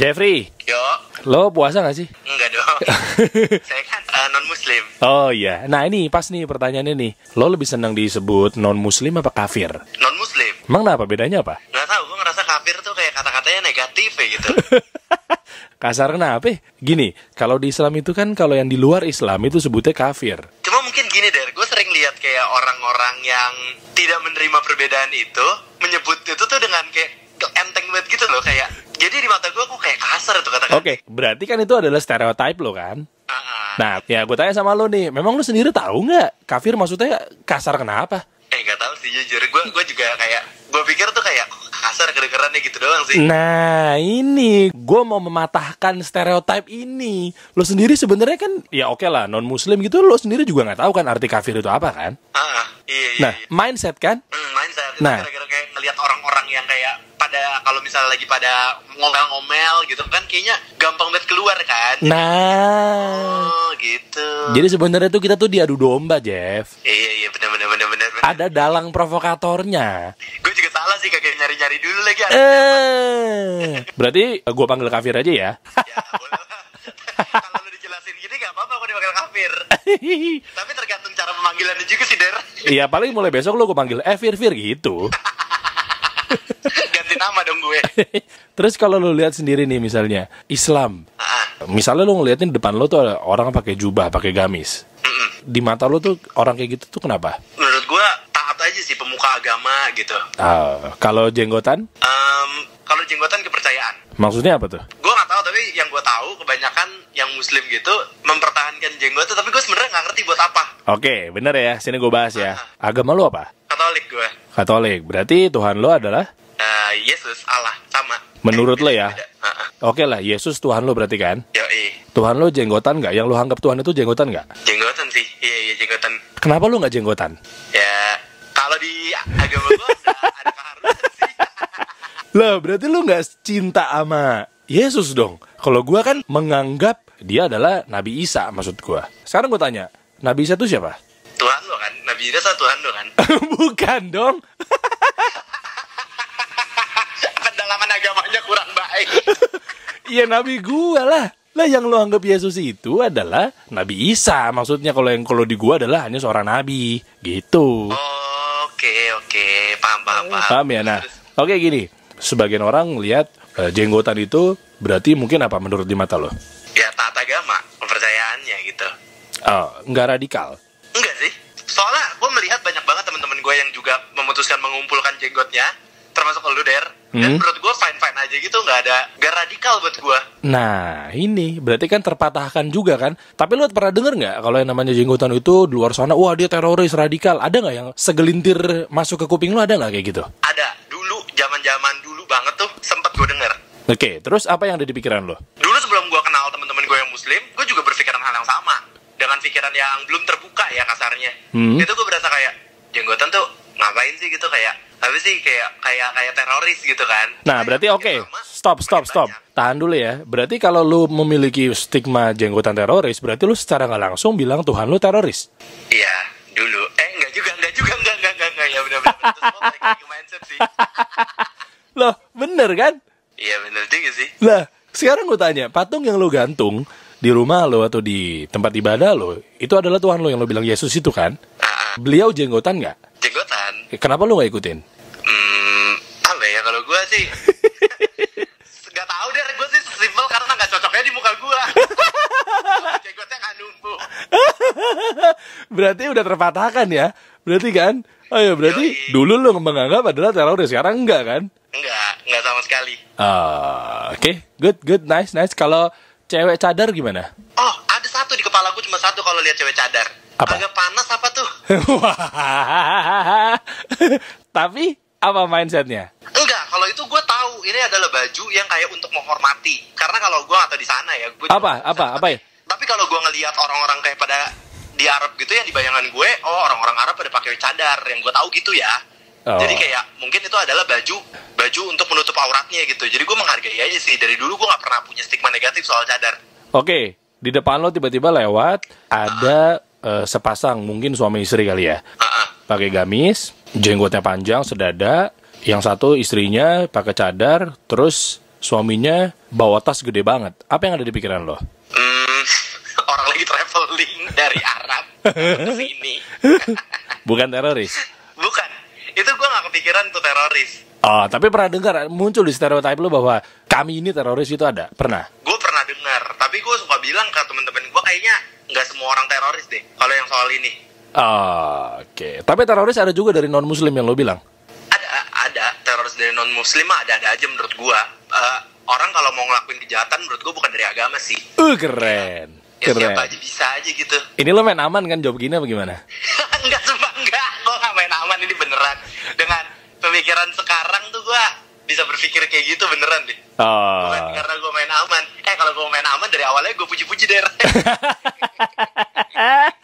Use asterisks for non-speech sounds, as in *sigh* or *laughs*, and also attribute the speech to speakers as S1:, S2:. S1: Jeffrey,
S2: Yo,
S1: lo puasa gak sih?
S2: enggak dong. Saya kan non muslim.
S1: *laughs* Oh iya, nah ini pas nih pertanyaannya nih Lo lebih senang disebut non-muslim apa kafir?
S2: Non muslim.
S1: Emang kenapa? Bedanya apa? *laughs*
S2: Nggak tahu, gue ngerasa kafir tuh kayak kata-katanya negatif ya gitu.
S1: Kasar kenapa? Gini, kalau di Islam itu kan kalau yang di luar Islam itu sebutnya kafir
S2: Cuma mungkin gini deh, gue sering lihat kayak orang-orang yang tidak menerima perbedaan itu menyebut itu tuh dengan kayak enteng banget gitu loh kayak. Jadi di mata gue kok kayak kasar tuh kata-kata.
S1: Oke, berarti kan itu adalah stereotype lo kan?
S2: Ah, ah.
S1: Nah, ya gue tanya sama lo nih, memang lo sendiri tahu nggak kafir maksudnya kasar kenapa?
S2: Eh nggak tahu sih jujur, gue gue juga kayak gue pikir tuh kayak kok kasar kedengerannya gitu doang sih.
S1: Nah, ini gue mau mematahkan stereotype ini. Lo sendiri sebenarnya kan, ya oke lah, non Muslim gitu, lo sendiri juga nggak tahu kan arti kafir itu apa kan?
S2: Ah, ah. iya iya.
S1: Nah,
S2: iya.
S1: mindset kan?
S2: Hmm, mindset itu
S1: Nah.
S2: gara-gara kayak ngelihat orang-orang yang kayak pada kalau misalnya lagi pada ngomel-ngomel gitu kan kayaknya gampang banget keluar kan.
S1: Iya. Nah,
S2: Oh, gitu.
S1: jadi sebenarnya tuh kita tuh diadu domba, Jeff.
S2: Iya iya benar benar benar benar.
S1: Ada dalang provokatornya.
S2: Gue juga salah sih kagak nyari-nyari dulu lagi.
S1: Eh, berarti gue panggil kafir aja ya. *laughs*
S2: ya, boleh. lah. *laughs* kalau lu dijelasin gini gak apa-apa gue dipanggil kafir. Tapi tergantung cara pemanggilannya juga sih, Der. *laughs*
S1: Iya paling mulai besok lo gue panggil eh Fir Fir gitu. *laughs*
S2: Ganti nama dong gue.
S1: Terus kalau lo lihat sendiri nih misalnya Islam,
S2: Ah,
S1: misalnya lo ngeliatin depan lo tuh ada orang pakai jubah, pakai gamis.
S2: mm-mm.
S1: Di mata lo tuh orang kayak gitu tuh kenapa?
S2: Menurut gue taat aja sih pemuka agama gitu.
S1: Ah, kalau jenggotan,
S2: Em, kalau jenggotan kepercayaan.
S1: maksudnya apa tuh?
S2: gue nggak tahu tapi yang gue tahu kebanyakan yang muslim gitu mempertahankan jenggot tuh, tapi gue sebenarnya nggak ngerti buat apa
S1: Oke, bener ya. Sini gue bahas ya. Agama lo apa?
S2: katolik gue
S1: Katolik. Berarti Tuhan lo adalah
S2: Eh, Yesus Allah sama
S1: Menurut
S2: Eh,
S1: lo
S2: beda-
S1: ya?
S2: beda. Heeh.
S1: Oke lah, Yesus Tuhan lo berarti kan?
S2: Yoi.
S1: Tuhan lo jenggotan nggak? Yang lo anggap Tuhan itu jenggotan nggak?
S2: jenggotan sih iya iya jenggotan
S1: Kenapa lo nggak jenggotan?
S2: ya kalau di agama gue ada, ada keharusan sih
S1: Lah, berarti lo nggak cinta sama Yesus dong. Kalau gua kan menganggap dia adalah Nabi Isa maksud gua. Sekarang gue tanya, Nabi Isa itu siapa? *laughs*
S2: Tuhan lo kan Nabi Isa Tuhan lo kan *laughs*
S1: Bukan dong.
S2: pendalaman agamanya kurang baik
S1: Iya Nabi gua lah. Lah yang lo anggap Yesus itu adalah Nabi Isa. Maksudnya kalau yang kalau di gua adalah hanya seorang nabi gitu.
S2: oke oke paham paham paham
S1: Paham ya? Nah, oke gini. Sebagian orang lihat eh, jenggotan itu berarti mungkin apa menurut di mata lo?
S2: ya taat agama kepercayaannya gitu
S1: Eh, nggak radikal.
S2: Enggak sih. Soalnya gue melihat banyak banget teman-teman gue yang juga memutuskan mengumpulkan jenggotnya, termasuk lu der. Dan
S1: Hmm.
S2: menurut gue fine fine aja gitu, nggak ada nggak radikal buat gue.
S1: Nah, ini berarti kan terpatahkan juga kan. Tapi lo pernah denger nggak kalau yang namanya jenggotan itu di luar sana, wah dia teroris radikal. Ada nggak yang segelintir masuk ke kuping lo ada nggak kayak gitu?
S2: Ada dulu zaman zaman dulu banget tuh sempet gue denger.
S1: Oke, terus apa yang ada di pikiran lo?
S2: Dulu sebelum gue kenal teman-teman gue yang muslim, gue juga berpikiran hal yang sama dengan pikiran yang belum terbuka ya kasarnya.
S1: Hmm.
S2: Itu gue berasa kayak jenggotan tuh ngapain sih gitu kayak habis sih kayak kayak kayak teroris gitu kan.
S1: Nah, berarti oke. Stop, stop, stop. Tahan dulu ya. Berarti kalau lu memiliki stigma jenggotan teroris, berarti lu secara nggak langsung bilang Tuhan lu teroris.
S2: Iya, dulu. Eh, enggak juga, enggak juga, enggak, enggak, enggak, enggak. Ya benar-benar itu semua balik lagi ke mindset sih.
S1: Loh, bener kan?
S2: Iya, benar juga sih.
S1: Lah, sekarang gue tanya, patung yang lu gantung di rumah lo atau di tempat ibadah lo, itu adalah Tuhan lo yang lo bilang Yesus itu kan?
S2: Ah, ah.
S1: Beliau jenggotan nggak?
S2: jenggotan.
S1: Kenapa lu nggak ikutin? *laughs*
S2: Hmm, apa ya kalau gua sih? Enggak tahu deh, gua sih simpel karena enggak cocoknya di muka gua. Jenggotnya enggak numbuh.
S1: Berarti udah terpatahkan ya? Berarti kan? Oh ya, berarti dulu lo menganggap adalah teroris, sekarang enggak kan?
S2: Enggak, enggak sama sekali.
S1: Ah, Oke, good, good, nice, nice. Kalau cewek cadar gimana? *laughs*
S2: Oh, ada satu di kepala gua cuma satu kalau lihat cewek cadar.
S1: Apa?
S2: Agak panas apa tuh?
S1: Wah. Tapi apa mindsetnya?
S2: Enggak, kalau itu gua tahu ini adalah baju yang kayak untuk menghormati. Karena kalau gua atau di sana ya, gua
S1: Apa? Apa? Apa ya?
S2: Tapi kalau gue ngelihat orang-orang kayak pada di Arab gitu yang di bayangan gue, oh orang-orang Arab pada pakai cadar, yang gue tahu gitu ya.
S1: Oh.
S2: Jadi kayak mungkin itu adalah baju baju untuk menutup auratnya gitu. Jadi gue menghargai aja sih dari dulu gue nggak pernah punya stigma negatif soal cadar.
S1: Oke, di depan lo tiba-tiba lewat ada eh, sepasang mungkin suami istri kali ya.
S2: Heeh.
S1: Pakai gamis, jenggotnya panjang, sedada, yang satu istrinya pakai cadar, terus suaminya bawa tas gede banget. Apa yang ada di pikiran lo?
S2: Hmm, *laughs* orang lagi traveling dari Arab ke sini.
S1: Bukan teroris.
S2: Bukan. Itu gue gak kepikiran tuh teroris.
S1: Oh, tapi pernah dengar muncul di stereotype lo bahwa kami ini teroris itu ada? Pernah?
S2: Gue pernah dengar, tapi gue suka bilang ke temen-temen gue kayaknya nggak semua orang teroris deh. Kalau yang soal ini
S1: Ah, Oke, tapi teroris ada juga dari non muslim yang lo bilang.
S2: ada ada teroris dari non muslim ada ada aja menurut gue. Eh, orang kalau mau ngelakuin kejahatan menurut gue bukan dari agama sih.
S1: Uh, keren,
S2: Ya, siapa
S1: keren.
S2: aja bisa aja gitu. *laughs*
S1: Ini lo main aman kan job gini apa gimana?
S2: enggak sumpah enggak, gue gak main aman ini beneran. Dengan pemikiran sekarang tuh gue bisa berpikir kayak gitu beneran deh. Bukan
S1: Oh,
S2: karena *laughs* gue main aman. Eh kalau gue main aman dari awalnya gue puji-puji daerah.